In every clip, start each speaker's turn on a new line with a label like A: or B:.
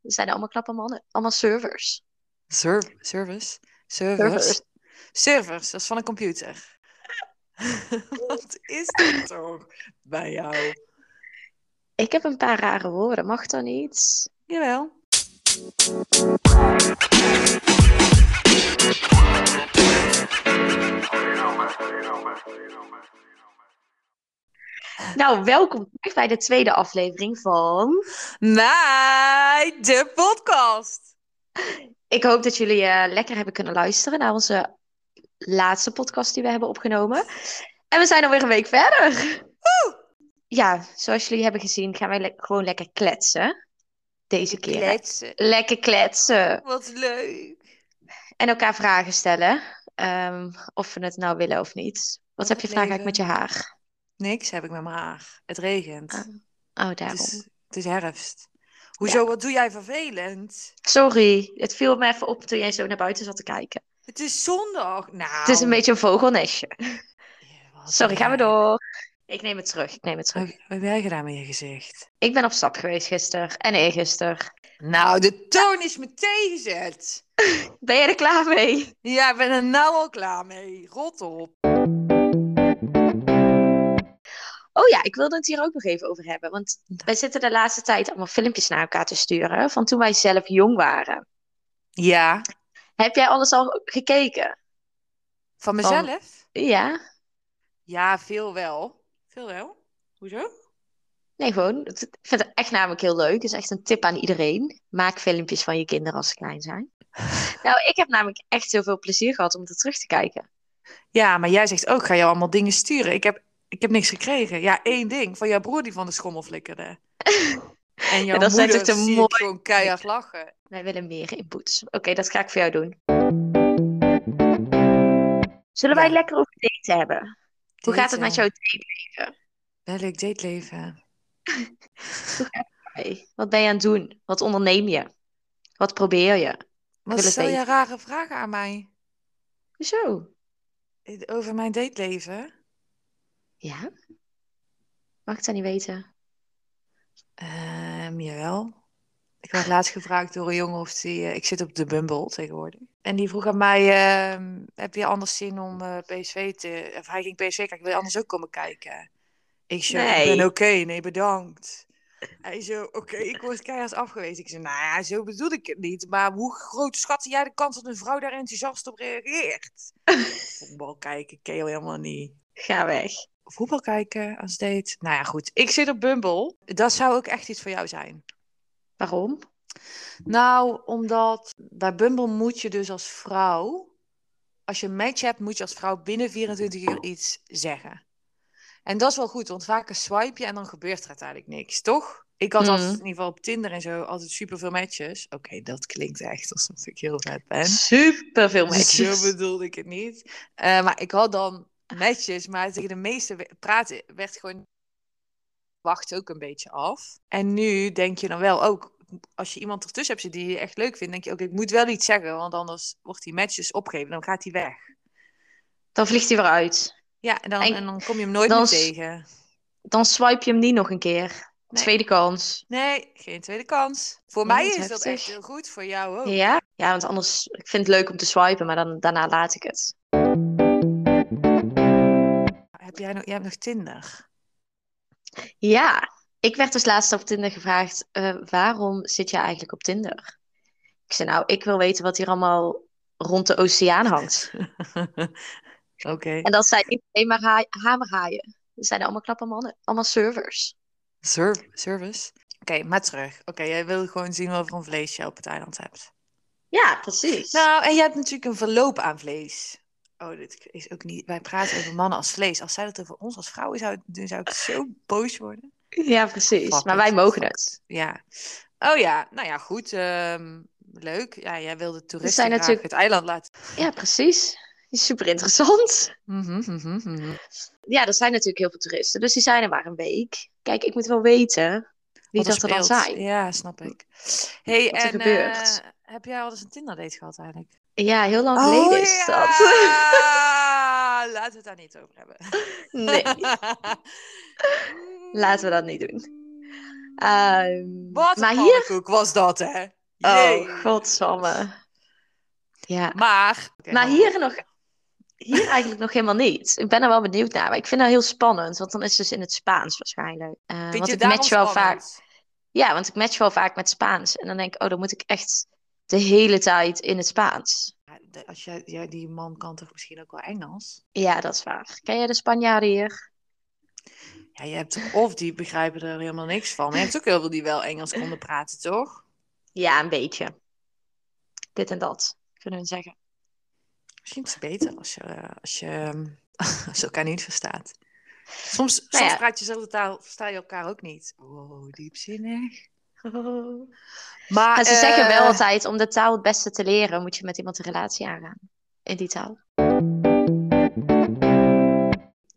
A: Dat zijn allemaal knappe mannen. Allemaal servers.
B: Serv- service? Servers?
A: Servers.
B: Servers, dat is van een computer. Wat is dit toch bij jou?
A: Ik heb een paar rare woorden. Mag dat niet?
B: Jawel.
A: Nou, welkom terug bij de tweede aflevering van...
B: Mij, de podcast.
A: Ik hoop dat jullie eh, lekker hebben kunnen luisteren naar onze laatste podcast die we hebben opgenomen. En we zijn alweer een week verder. Ja, zoals jullie hebben gezien gaan wij le- gewoon lekker kletsen. Deze keer.
B: Kletsen.
A: Lekker kletsen.
B: Wat leuk.
A: En elkaar vragen stellen. ehm, of we het nou willen of niet. Wat
B: Wat
A: heb je
B: het
A: vandaag eigenlijk
B: leven.
A: met je haar?
B: Niks heb ik met mijn haar. Het regent.
A: Ah, Oh, daarom.
B: het, is, het is herfst. Hoezo, wat doe jij vervelend?
A: Sorry, het viel me even op toen jij zo naar buiten zat te kijken.
B: Het is zondag. Nou.
A: Het is een beetje een vogelnestje.
B: Ja, wat
A: Sorry,
B: heb
A: gaan we
B: jij-
A: door. Ik neem het terug, ik neem het
B: Wat
A: terug.
B: wat heb jij gedaan met je gezicht?
A: Ik ben op stap geweest gisteren en eergisteren.
B: Nou, de toon is me tegenzet.
A: Ben je er klaar mee?
B: Ja, ik ben er nou al klaar mee. Rot op.
A: Oh ja, ik wilde het hier ook nog even over hebben. Want wij zitten de laatste tijd allemaal filmpjes naar elkaar te sturen van toen wij zelf jong waren.
B: Ja,
A: Heb jij alles al gekeken?
B: van mezelf?
A: Ja?
B: Ja, veel wel. Veel wel? Hoezo?
A: Nee, gewoon. Ik vind het echt namelijk heel leuk. Het is echt een tip aan iedereen. Maak filmpjes van je kinderen als ze klein zijn. Nou, ik heb namelijk echt heel veel plezier gehad om het terug te kijken.
B: Ja, maar jij zegt ook, ga je allemaal dingen sturen? Ik heb, ik heb niks gekregen. Ja, één ding. Van jouw broer die van de schommel flikkerde. En jouw
A: Ja, dat is echt
B: moeder
A: een
B: zie ik
A: mooi-
B: gewoon keihard lachen.
A: Wij willen meer inputs. Oké, dat ga ik voor jou doen. Zullen wij
B: Ja.
A: lekker over daten hebben? Hoe gaat het met
B: Daten.
A: jouw date?
B: Welk dateleven?
A: bij? Wat ben je aan het doen? Wat onderneem je? Wat probeer je?
B: Wat
A: wil het
B: stel je
A: weten.
B: rare vragen aan mij?
A: Zo.
B: Over mijn dateleven?
A: Ja? Mag ik dat niet weten?
B: Ehm, jawel. Ik werd laatst gevraagd door een jongen of die... eh, ik zit op de Bumble tegenwoordig. En die vroeg aan mij, ehm, heb je anders zin om eh, PSV te... Of hij ging PSV kijken, wil je anders ook komen kijken? Ik zei, ik
A: Nee.
B: ben oké, nee bedankt. Hij zo, oké, ik word keihard afgewezen. Ik zei, nou ja, zo bedoel ik het niet. Maar hoe groot schatte jij de kans dat een vrouw daar enthousiast op reageert? Voetbal kijken, ken je helemaal niet
A: Ga weg.
B: voetbal kijken als date. Nou ja, goed. Ik zit op Bumble. Dat zou ook echt iets voor jou zijn.
A: Waarom?
B: Nou, omdat bij Bumble moet je dus als vrouw, als je een match hebt, moet je als vrouw binnen 24 uur iets zeggen. En dat is wel goed, want vaker swipe je en dan gebeurt er uiteindelijk niks, toch? Ik had
A: Mm.
B: altijd, in ieder geval op Tinder en zo altijd superveel matches. Oké, dat klinkt echt alsof ik heel vet ben.
A: Super veel
B: Dus Zo bedoolde ik het niet. Eh, maar ik had dan matches, maar tegen de meeste we- praten werd gewoon. Wacht ook een beetje af. En nu denk je dan wel ook, als je iemand ertussen hebt zitten die je echt leuk vindt, denk je ook, ik moet wel iets zeggen, want anders wordt die matches opgegeven, dan gaat die weg.
A: Dan vliegt hij weer uit.
B: Ja, en dan,
A: En-
B: en dan kom je hem nooit
A: dan
B: meer
A: s-
B: tegen.
A: Dan swipe je hem niet nog een keer.
B: Nee.
A: Tweede kans.
B: Nee, geen tweede kans. Voor
A: Nee,
B: mij
A: dat is
B: is dat
A: heftig.
B: echt heel goed, voor jou ook.
A: Ja? Ja, want anders... Ik vind het leuk om te swipen, maar dan, daarna laat ik het.
B: Heb jij, nog, jij hebt nog Tinder?
A: Ja, ik werd dus laatst op Tinder gevraagd, eh, waarom zit jij eigenlijk op Tinder? Ik zei, nou, ik wil weten wat hier allemaal rond de oceaan hangt.
B: Oké.
A: En dat zijn niet alleen maar haai- hamerhaaien. Dat zijn allemaal knappe mannen, allemaal servers.
B: Serv- service. Oké, maar terug. Oké, jij wil gewoon zien wat voor een vlees je op het eiland hebt.
A: Ja, precies.
B: Nou, en je hebt natuurlijk een verloop aan vlees. Oh, dit is ook niet. Wij praten over mannen als vlees. Als zij dat over ons als vrouwen zou doen, zou ik zo boos worden.
A: Ja, precies.
B: Fuck
A: Maar
B: it,
A: wij mogen
B: fuck
A: het.
B: Ja. Oh ja, nou ja, goed. ehm, leuk. Ja, jij wilde toeristen
A: zijn
B: graag
A: natuurlijk-
B: het eiland laten.
A: Ja, precies. Is super interessant.
B: Mhm, mhm, mhm.
A: Ja, er zijn natuurlijk heel veel toeristen, dus die zijn er maar een week. Kijk, ik moet wel weten wie
B: Wat er
A: dat er dan
B: speelt.
A: zijn.
B: Ja, snap ik. Hey,
A: Wat er
B: en
A: gebeurt.
B: eh, heb jij al eens een Tinder-date gehad eigenlijk?
A: Ja, heel
B: Oh,
A: lang geleden is dat.
B: ja! Laten we het daar niet over hebben.
A: Nee, laten we dat niet doen. Ehm,
B: Wat een Ehm,
A: maar hier,
B: pannenkoek was dat, hè? Jee.
A: Oh, godsamme. Ja.
B: Maar... Oké,
A: Maar
B: hou op.
A: hier nog... Hier eigenlijk nog helemaal niet. Ik ben er wel benieuwd naar. Maar ik vind dat heel spannend. Want dan is het dus in het Spaans waarschijnlijk. Eh,
B: Vind
A: want
B: je
A: ik
B: daarom
A: match wel vaak...
B: spannend?
A: Ja, want ik match wel vaak met Spaans. En dan denk ik, oh, dan moet ik echt de hele tijd in het Spaans.
B: Ja, de- Als jij, ja, die man kan toch misschien ook wel Engels?
A: Ja, dat is waar. Ken jij de Spanjaarden hier?
B: Ja, je hebt toch- of die begrijpen er helemaal niks van. Maar je hebt ook heel veel die wel Engels konden praten, toch?
A: Ja, een beetje. Dit en dat, kunnen we zeggen.
B: Misschien is het beter als je, eh, als je, als je elkaar niet verstaat. Soms,
A: Nou
B: soms
A: ja. Oh,
B: praat je dezelfde taal, versta je elkaar ook niet. Wow, diepzinnig. Maar
A: Maar ze zeggen wel
B: eh,
A: altijd, om de taal het beste te leren, moet je met iemand een relatie aangaan. In die taal.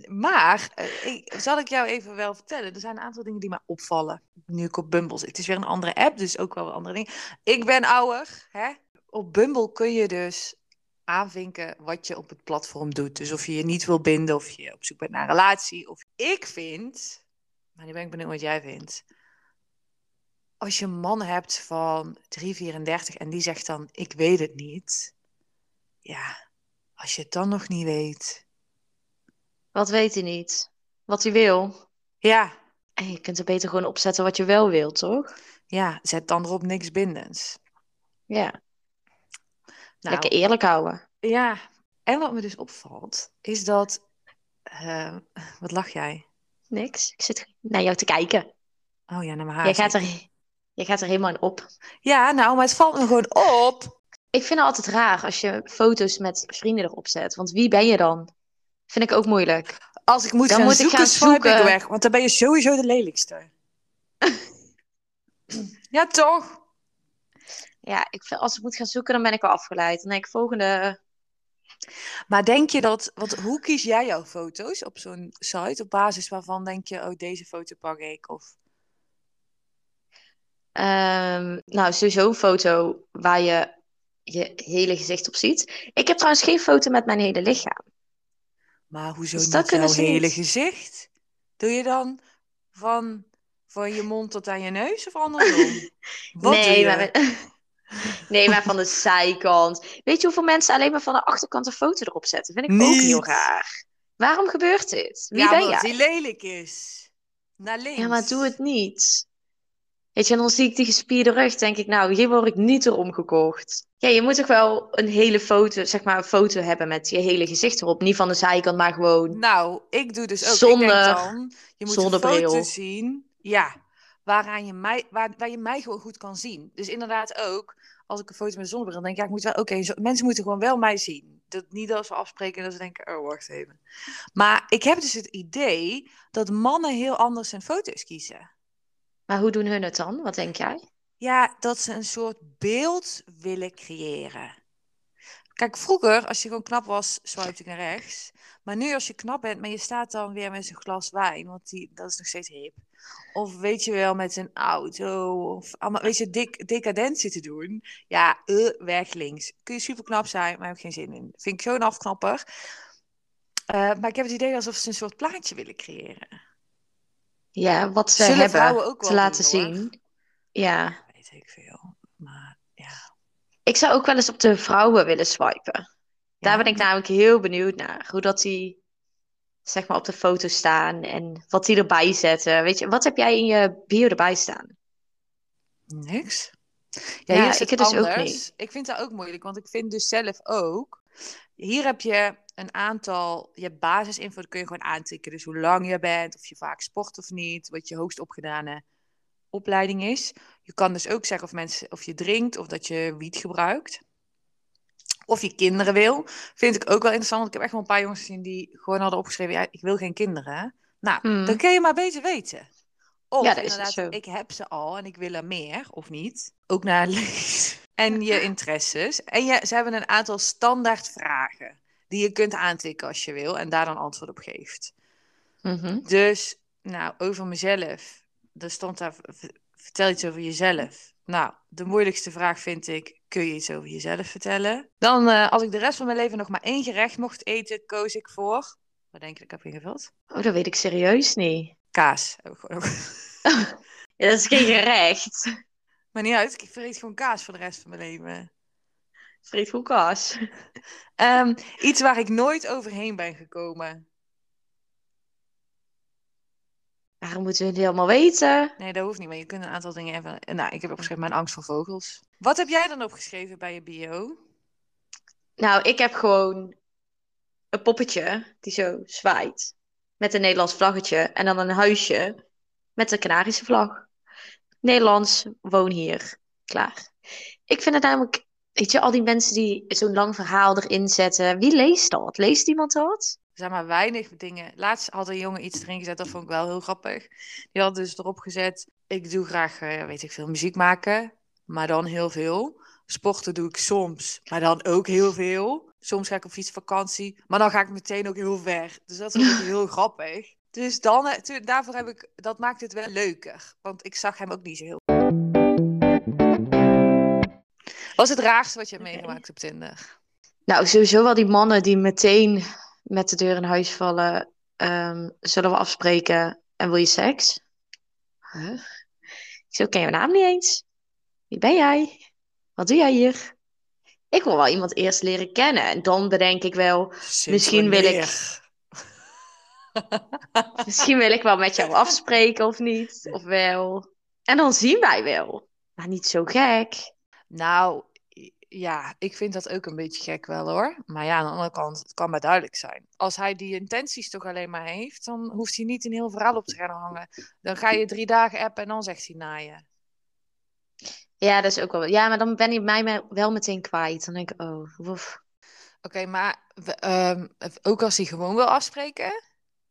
B: Maar, eh, ik- zal ik jou even wel vertellen, er zijn een aantal dingen die mij opvallen. Nu ik op Bumble zit. Het is weer een andere app, dus ook wel wat andere dingen. Ik ben ouder, hè? Op Bumble kun je dus aanvinken wat je op het platform doet. Dus of je je niet wil binden, of je op zoek bent naar een relatie. Of... Ik vind, maar nu ben ik benieuwd wat jij vindt. Als je een man hebt van 3,34 en die zegt dan, ik weet het niet. Ja, als je het dan nog niet weet.
A: Wat weet hij niet? Wat hij wil?
B: Ja,
A: En je kunt er beter gewoon opzetten wat je wel wilt, toch?
B: Ja, zet dan erop niks bindends.
A: Ja,
B: Nou,
A: lekker eerlijk houden.
B: ja. En wat me dus opvalt, is dat... eh, wat lach jij?
A: Niks. Ik zit naar jou te kijken.
B: Oh ja, naar mijn haar.
A: Jij gaat, er, jij gaat er helemaal in op.
B: Ja, nou, maar het valt me gewoon op.
A: Ik vind het altijd raar als je foto's met vrienden erop zet. Want wie ben je dan? Vind ik ook moeilijk.
B: Als ik moet
A: Dan
B: gaan
A: moet ik
B: zoeken,
A: gaan
B: swipe ik
A: zoeken.
B: weg. Want dan ben je sowieso de lelijkste. ja, toch?
A: Ja, ik vind, als ik moet gaan zoeken, dan ben ik al afgeleid. Dan denk ik, volgende...
B: Maar denk je dat... Want hoe kies jij jouw foto's op zo'n site? Op basis waarvan denk je, oh, deze foto pak ik. Of...
A: ehm, nou, sowieso een foto waar je je hele gezicht op ziet. Ik heb trouwens geen foto met mijn hele lichaam.
B: Maar hoezo
A: Dus dat
B: niet
A: kunnen
B: jouw
A: ze
B: hele
A: niet.
B: gezicht? Doe je dan van, van je mond tot aan je neus of andersom? Wat doe
A: nee,
B: je?
A: maar mijn- nee, maar van de zijkant. Weet je hoeveel mensen alleen maar van de achterkant een foto erop zetten? Vind ik ook heel
B: Niet.
A: raar. Waarom gebeurt dit? Wie
B: ja,
A: ben
B: omdat
A: jij?
B: die lelijk is. Naar links.
A: Ja, maar doe het niet. Weet je, en dan zie ik die gespierde rug, denk ik, nou, hier word ik niet door omgekocht. Ja, je moet toch wel een hele foto, zeg maar, een foto hebben met je hele gezicht erop. Niet van de zijkant, maar gewoon.
B: Nou, ik doe dus ook. Ik
A: Zonder-
B: denk dan, je moet een
A: zonnebril.
B: foto zien. Ja, waaraan je mij, waar, waar je mij gewoon goed kan zien. Dus inderdaad ook, als ik een foto met zonnebril denk, ja, ik moet wel, oké, zo- mensen moeten gewoon wel mij zien. Dat, niet dat ze afspreken dat ze denken, oh, wacht even. Maar ik heb dus het idee dat mannen heel anders hun foto's kiezen.
A: Maar hoe doen hun het dan? Wat denk jij?
B: Ja, dat ze een soort beeld willen creëren. Kijk, vroeger, als je gewoon knap was, swipte ik naar rechts. Maar nu, als je knap bent, maar je staat dan weer met zo'n glas wijn, want die, dat is nog steeds hip. Of weet je wel, met een auto, of allemaal, weet je, dik, decadent zitten doen. Ja, eh, weg links. Kun je super knap zijn, maar heb ik geen zin in. Vind ik zo'n afknapper. Eh, maar ik heb het idee alsof ze een soort plaatje willen creëren.
A: Ja, wat ze
B: Zullen
A: hebben
B: vrouwen ook wel
A: te laten
B: doen, hoor.
A: zien. Ja.
B: Weet ik veel. Maar ja.
A: Ik zou ook wel eens op de vrouwen willen swipen. Daar
B: Ja.
A: ben ik namelijk heel benieuwd naar. Hoe dat die, zeg maar, op de foto staan en wat die erbij zetten. Weet je, wat heb jij in je bio erbij staan?
B: Niks.
A: Ja,
B: hier is
A: ik
B: het
A: het dus ook
B: anders.
A: niet.
B: Ik vind dat ook moeilijk, want ik vind dus zelf ook. Hier heb je een aantal, je hebt basisinfo, dat kun je gewoon aantikken. Dus hoe lang je bent, of je vaak sport of niet, wat je hoogst opgedane opleiding is. Je kan dus ook zeggen of, mensen, of je drinkt, of dat je wiet gebruikt. Of je kinderen wil. Vind ik ook wel interessant, want ik heb echt wel een paar jongens gezien die gewoon hadden opgeschreven, ja, ik wil geen kinderen. Nou,
A: Hmm.
B: dan kun je maar beter weten. Of
A: Ja, dat is dus
B: inderdaad,
A: zo.
B: ik heb ze al en ik wil er meer, of niet. Ook naar links. En je interesses. En je, ze hebben een aantal standaard vragen die je kunt aantikken als je wil en daar dan antwoord op geeft.
A: Mhm.
B: Dus, nou, over mezelf. Er stond daar, v- vertel iets over jezelf. Nou, de moeilijkste vraag vind ik, kun je iets over jezelf vertellen? Dan, eh, als ik de rest van mijn leven nog maar één gerecht mocht eten, koos ik voor... Wat denk je dat ik heb ingevuld? Oh,
A: Oh, dat weet ik serieus niet.
B: Kaas. Heb ik gewoon ook.
A: Ja, dat is geen gerecht.
B: Maar niet uit, ik vreet gewoon kaas voor de rest van mijn leven.
A: Vreet goed kaas.
B: Ehm, iets waar ik nooit overheen ben gekomen.
A: Waarom moeten we het helemaal weten?
B: Nee, dat hoeft niet, maar je kunt een aantal dingen even... Nou, ik heb opgeschreven mijn angst voor vogels. Wat heb jij dan opgeschreven bij je bio?
A: Nou, ik heb gewoon een poppetje die zo zwaait. Met een Nederlands vlaggetje. En dan een huisje met een Canarische vlag. Nederlands, woon hier. Klaar. Ik vind het namelijk... Weet je, al die mensen die zo'n lang verhaal erin zetten. Wie leest dat? Leest iemand dat?
B: Er zijn maar weinig dingen. Laatst had een jongen iets erin gezet, dat vond ik wel heel grappig. Die had dus erop gezet, ik doe graag, eh, weet ik veel, muziek maken, maar dan heel veel. Sporten doe ik soms, maar dan ook heel veel. Soms ga ik op fietsvakantie, maar dan ga ik meteen ook heel ver. Dus dat vond ik heel grappig. Dus dan, eh, tu- daarvoor heb ik, dat maakt het wel leuker. Want ik zag hem ook niet zo heel... Wat is het raarste wat je hebt
A: Oké.
B: meegemaakt op Tinder?
A: Nou, sowieso wel die mannen die meteen met de deur in huis vallen. ehm, zullen we afspreken en wil je seks? Huh? Ik zo, ken je naam niet eens. Wie ben jij? Wat doe jij hier? Ik wil wel iemand eerst leren kennen. En dan bedenk ik wel, Misschien wil ik- misschien wil ik wel met jou afspreken of niet. Of wel. En dan zien wij wel. Maar niet zo gek.
B: Nou, i- ja, ik vind dat ook een beetje gek wel hoor. Maar ja, aan de andere kant, het kan maar duidelijk zijn. Als hij die intenties toch alleen maar heeft, dan hoeft hij niet een heel verhaal op te gaan hangen. Dan ga je drie dagen appen en dan zegt hij na je.
A: Ja, dat is ook wel. Ja, maar dan ben je mij me- wel meteen kwijt. Dan denk ik, oh, woef.
B: Oké, maar we- ehm, ook als hij gewoon wil afspreken.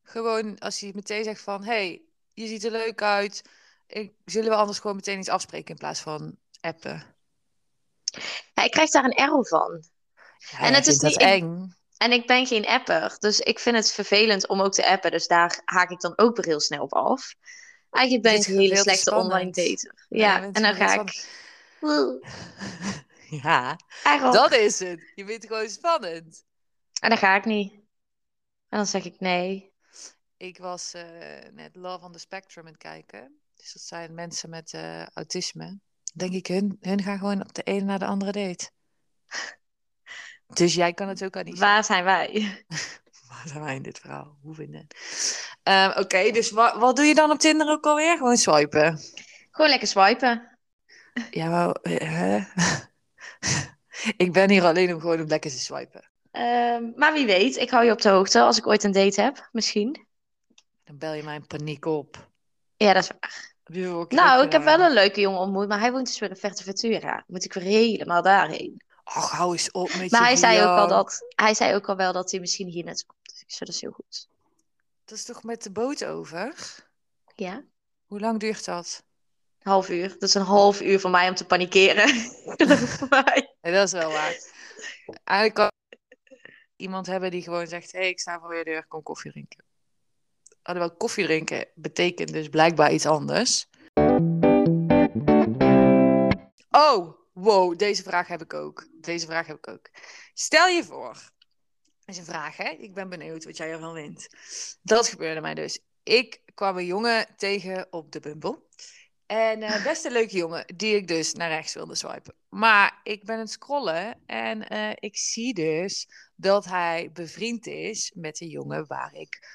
B: Gewoon als hij meteen zegt van, hey, je ziet er leuk uit. Ik, zullen we anders gewoon meteen iets afspreken in plaats van appen?
A: Ja, ik krijg daar een error van.
B: Ja,
A: En
B: jij
A: het is
B: vindt dat
A: niet- ik-
B: eng.
A: En ik ben geen apper, dus ik vind het vervelend om ook te appen. Dus daar haak ik dan ook weer heel snel op af. Eigenlijk ben
B: Dit
A: ik
B: is
A: een hele
B: veel te
A: slechte
B: spannend.
A: online dater.
B: Nee,
A: Ja,
B: je bent
A: en dan
B: gewoon
A: ga
B: heel
A: ik... Oeh,
B: Ja.
A: error.
B: Dat is het. Je vindt het gewoon spannend.
A: En dan ga ik niet. En dan zeg ik nee.
B: Ik was eh, net Love on the Spectrum aan het kijken. Dus dat zijn mensen met eh, autisme. Denk ik, hun, hun gaan gewoon op de ene naar de andere date. Dus jij kan het ook aan die
A: Waar zijn wij?
B: Waar zijn wij in dit verhaal? Hoe vinden? Ehm, Oké, dus wa- wat doe je dan op Tinder ook alweer? Gewoon swipen.
A: Gewoon lekker swipen.
B: Ja, maar... eh, hè? ik ben hier alleen om gewoon om lekker te swipen.
A: Ehm, maar wie weet, ik hou je op de hoogte als ik ooit een date heb. Misschien.
B: Dan bel je mij in paniek op. eh,
A: Ja, dat is waar.
B: Heb je ook
A: Nou, ik heb
B: gedaan?
A: wel een leuke jongen ontmoet, maar hij woont dus weer in Fuerteventura. Moet ik weer helemaal daarheen.
B: Och, hou eens op met
A: Maar
B: je
A: hij zei ook al
B: gejank.
A: dat, hij zei ook al wel dat hij misschien hier net komt. Dus ik zei, dat is heel goed.
B: Dat is toch met de boot over?
A: Ja.
B: Hoe lang duurt dat?
A: Een half uur. Dat is een half uur voor mij om te panikeren. Geloof mij.
B: Nee, dat is wel waar. Eigenlijk kan iemand hebben die gewoon zegt: hey, ik sta voor je deur, kom koffie drinken. Alhoewel koffie drinken betekent dus blijkbaar iets anders. Oh, wow, deze vraag heb ik ook. Deze vraag heb ik ook. Stel je voor, is een vraag hè, ik ben benieuwd wat jij ervan wint. Dat gebeurde mij dus. Ik kwam een jongen tegen op de Bumble. En eh best een leuke jongen, die ik dus naar rechts wilde swipen. Maar ik ben aan het scrollen en eh, ik zie dus dat hij bevriend is met de jongen waar ik...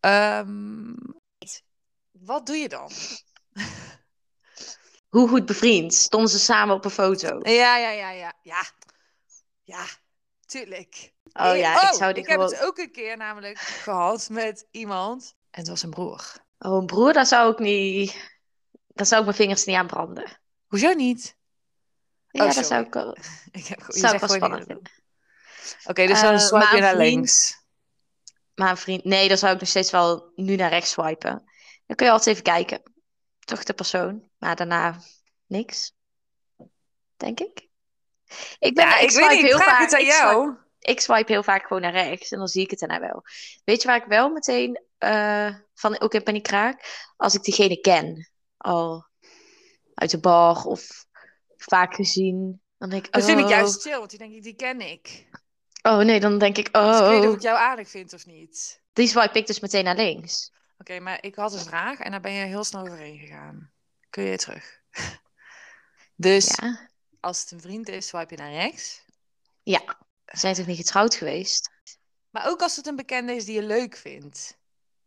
B: ehm, wat doe je dan?
A: Hoe goed bevriend? Stonden ze samen op een foto?
B: Ja, ja, ja, ja. Ja, ja tuurlijk.
A: Oh
B: Ik-
A: ja, ik
B: oh,
A: zou die
B: ik
A: gewoon...
B: heb het ook een keer namelijk gehad met iemand. En het was een broer.
A: Oh, een broer, daar zou ik niet... Daar zou ik mijn vingers niet aan branden. Oh,
B: Hoezo niet?
A: Ja, daar
B: sorry.
A: zou ik wel...
B: Ik heb, je
A: Zou
B: zegt
A: ik wel
B: gewoon
A: spannend
B: niet- Oké, dus dan
A: Eh,
B: swipe
A: maar
B: je naar
A: een vriend-
B: links.
A: Maar een vriend... Nee, daar zou ik nog steeds wel nu naar rechts swipen. Dan kun je altijd even kijken. Toch de persoon. Maar daarna niks. Denk ik. Ik ben...
B: Ja, ik, weet
A: swipe
B: niet,
A: heel
B: vraag
A: vaak...
B: het aan
A: ik swipe
B: jou.
A: ik swipe heel vaak gewoon naar rechts en dan zie ik het daarna wel. Weet je waar ik wel meteen eh, van ook in paniek raak? Als ik diegene ken, al uit de bar of vaak gezien, dan denk ik,
B: Dat vind ik
A: oh,
B: juist chill, want die denk ik, die ken ik.
A: oh nee, dan denk ik,
B: Dus ik weet
A: oh,
B: of ik jou aardig vind of niet.
A: die swipe ik dus meteen naar links.
B: Oké, maar ik had een vraag en daar ben je heel snel overheen gegaan. Kun je terug? Dus
A: Ja.
B: als het een vriend is, swipe je naar rechts.
A: ja. Ze zijn toch niet getrouwd geweest?
B: Maar ook als het een bekende is die je leuk vindt.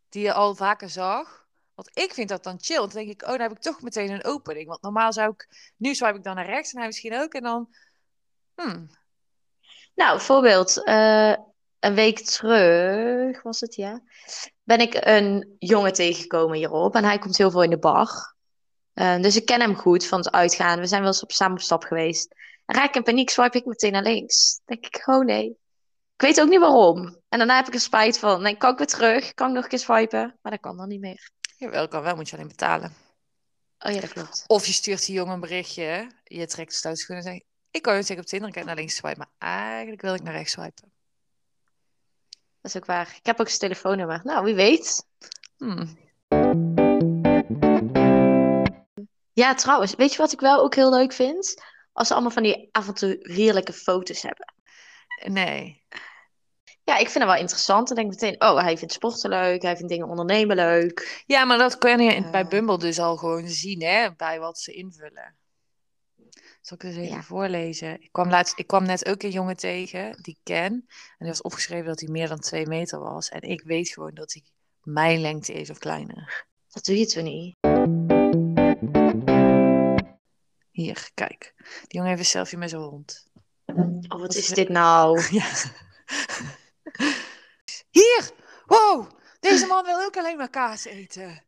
B: Die je al vaker zag. Want ik vind dat dan chill. Dan denk ik, oh, dan heb ik toch meteen een opening. Want normaal zou ik... Nu swipe ik dan naar rechts en hij misschien ook. En dan... Hmm,
A: Nou, voorbeeld. eh, een week terug was het, ja. Ben ik een jongen tegengekomen hierop. En hij komt heel veel in de bar. Eh, dus ik ken hem goed van het uitgaan. We zijn wel eens op, samen op stap geweest. En raak ik in paniek, swipe ik meteen naar links. Denk ik, oh nee. Ik weet ook niet waarom. En daarna heb ik er spijt van. Nee, kan ik weer terug? Kan ik nog een keer swipen? Maar dat kan dan niet meer.
B: jawel, kan wel. Moet je alleen betalen.
A: Oh ja, dat klopt.
B: Of je stuurt die jongen een berichtje. Je trekt de stoute en zegt... Ik kan je zeggen op Tinder, ik heb naar links swipen. Maar eigenlijk wil ik naar rechts swipen.
A: Dat is ook waar. Ik heb ook zijn telefoonnummer. Nou, wie weet.
B: Hmm.
A: Ja, trouwens, weet je wat ik wel ook heel leuk vind? Als ze allemaal van die avonturierlijke foto's hebben.
B: Nee.
A: Ja, ik vind dat wel interessant. Dan denk ik meteen, oh, hij vindt sporten leuk, hij vindt dingen ondernemen leuk.
B: Ja, maar dat kan je in- bij
A: Eh.
B: Bumble dus al gewoon zien, hè? Bij wat ze invullen. Zal ik eens even
A: Ja.
B: voorlezen? Ik kwam, laatst, ik kwam net ook een jongen tegen, die ik ken. En die was opgeschreven dat hij meer dan twee meter was. En ik weet gewoon dat hij mijn lengte is of kleiner.
A: Dat doe je toen niet.
B: Hier, kijk. Die jongen heeft een selfie met zijn hond.
A: Oh, wat is dit nou?
B: Ja. Hier! Wow! Deze man wil ook alleen maar kaas eten.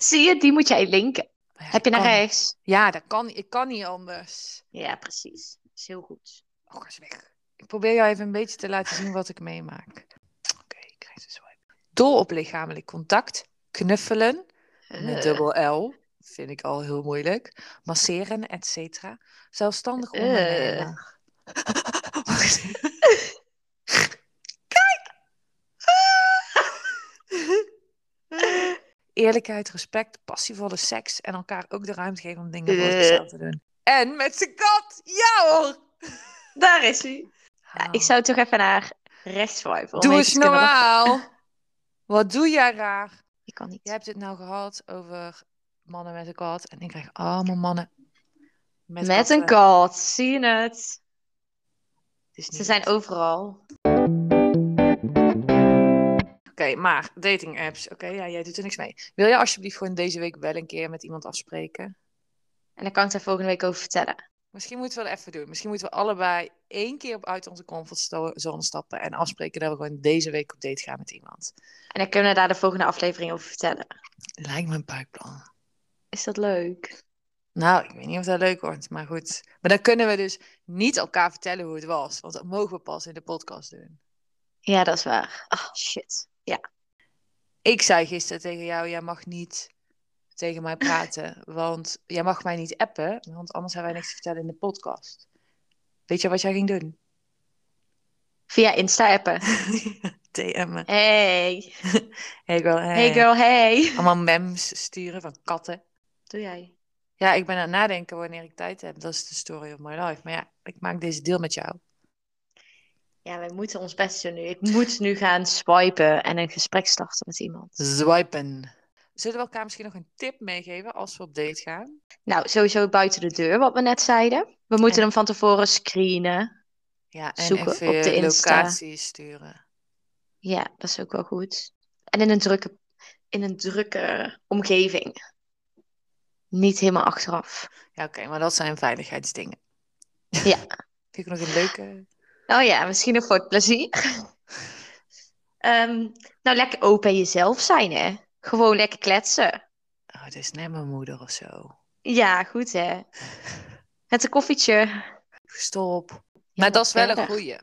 A: Zie je, die moet jij linken.
B: Maar ja,
A: Heb je
B: ik
A: naar
B: kan-
A: rechts?
B: Ja, dat kan, ik kan niet anders.
A: Ja, precies. Dat is heel goed.
B: Oh, ga eens weg. Ik probeer jou even een beetje te laten zien wat ik meemaak. Oké, ik krijg ze swipe. Dol op lichamelijk contact. Knuffelen.
A: Eh.
B: Met dubbel L. Vind ik al heel moeilijk. Masseren, et cetera. Zelfstandig
A: Eh.
B: ondernemer. Wacht. Kijk! Eerlijkheid, respect, passievolle seks en elkaar ook de ruimte geven om dingen voor
A: Eh.
B: zichzelf te doen. En met zijn kat! Ja hoor!
A: Daar is hij.
B: Ah.
A: Ik zou toch even naar rechts swipen. om
B: Doe
A: mee
B: eens
A: te kunnen wachten.
B: normaal. Wat doe jij raar?
A: Ik kan
B: Je
A: niet.
B: hebt het nou gehad over mannen met een kat. En ik krijg allemaal mannen met,
A: Met een
B: katten.
A: kat, eh, zie je het?
B: Het is
A: Ze
B: niet
A: zijn
B: goed.
A: overal.
B: Oké, maar dating apps. Oké, ja, jij doet er niks mee. Wil jij alsjeblieft gewoon deze week wel een keer met iemand afspreken?
A: En dan kan ik daar volgende week over vertellen.
B: Misschien moeten we dat even doen. Misschien moeten we allebei één keer op uit onze comfortzone stappen. En afspreken dat we gewoon deze week op date gaan met iemand.
A: En dan kunnen we daar de volgende aflevering over vertellen.
B: Lijkt me een buikplan.
A: Is dat leuk?
B: Nou, ik weet niet of dat leuk wordt, maar goed. Maar dan kunnen we dus niet elkaar vertellen hoe het was. Want dat mogen we pas in de podcast doen.
A: Ja, dat is waar. Oh, shit. Ja.
B: Ik zei gisteren tegen jou, jij mag niet tegen mij praten. Want jij mag mij niet appen, want anders hebben wij niks te vertellen in de podcast. Weet je wat jij ging doen?
A: Via Insta-appen.
B: DM'en.
A: Hey.
B: Hey girl,
A: Hey girl, hey.
B: Allemaal memes sturen van katten.
A: Doe jij?
B: Ja, ik ben aan het nadenken wanneer ik tijd heb. Dat is de story of my life. Maar ja, ik maak deze deal met jou.
A: Ja, wij moeten ons best doen nu. Ik moet nu gaan swipen en een gesprek starten met iemand.
B: Swipen. Zullen we elkaar misschien nog een tip meegeven als we op date gaan?
A: Nou, sowieso buiten de deur, wat we net zeiden. We moeten
B: En-
A: hem van tevoren screenen.
B: Ja, en
A: Zoeken op
B: even je
A: de Insta.
B: locatie sturen.
A: Ja, dat is ook wel goed. En in een drukke, in een drukke omgeving. Niet helemaal achteraf.
B: Ja, oké, maar dat zijn veiligheidsdingen.
A: Ja.
B: Vind ik nog een leuke...
A: Oh ja, misschien nog voor het plezier. Ehm, nou, lekker open jezelf zijn, hè. Gewoon lekker kletsen.
B: Oh, dit is net mijn moeder of zo.
A: Ja, goed, hè. Met een koffietje.
B: Stop.
A: Ja,
B: maar dat is wel
A: verder.
B: een goeie.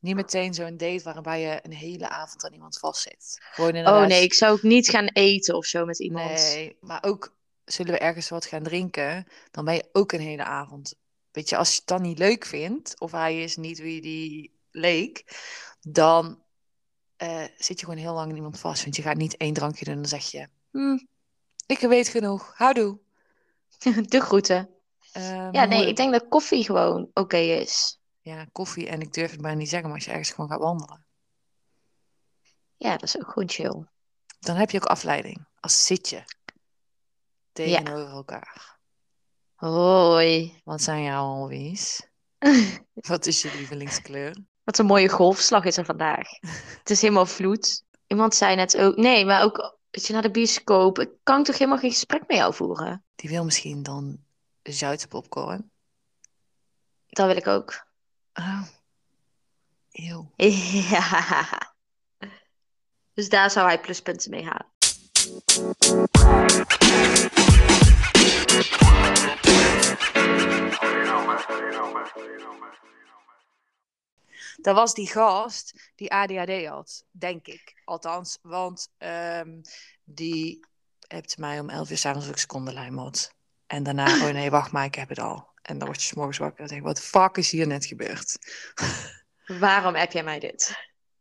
B: Niet meteen zo'n date waarbij je een hele avond aan iemand vastzit. Gewoon
A: Oh
B: inderdaad...
A: nee, ik zou ook niet gaan eten of zo met iemand.
B: Nee, maar ook zullen we ergens wat gaan drinken, dan ben je ook een hele avond. Weet je, als je het dan niet leuk vindt, of hij is niet wie die leek, dan eh, zit je gewoon heel lang in iemand vast. Want je gaat niet één drankje doen en dan zeg je, "Hm, ik weet genoeg, houdoe.
A: De groeten.
B: Eh,
A: Ja,
B: mijn
A: nee,
B: moeder-
A: ik denk dat koffie gewoon oké is.
B: Ja, koffie en ik durf het maar niet zeggen, maar als je ergens gewoon gaat wandelen,
A: Ja, dat is ook gewoon chill.
B: dan heb je ook afleiding. Als zit je tegenover elkaar.
A: Hoi.
B: Wat zijn jouw hobby's? Wat is je lievelingskleur?
A: Wat een mooie golfslag is er vandaag. Het is helemaal vloed. Iemand zei net ook, nee, maar ook weet je, naar de bioscoop. Ik kan toch helemaal geen gesprek met jou voeren?
B: Die wil misschien dan Zuidse popcorn.
A: Dat wil ik ook.
B: Oh. Eeuw.
A: Ja. Dus daar zou hij pluspunten mee halen.
B: Dat was die gast die ADHD had, denk ik. Althans, want ehm, die hebt mij om 11 uur s'avonds ook secondenlijm had. En daarna, oh nee, wacht maar, ik heb het al. En dan word je s'morgens wakker en denk wat de fuck is hier net gebeurd?
A: Waarom heb jij mij dit?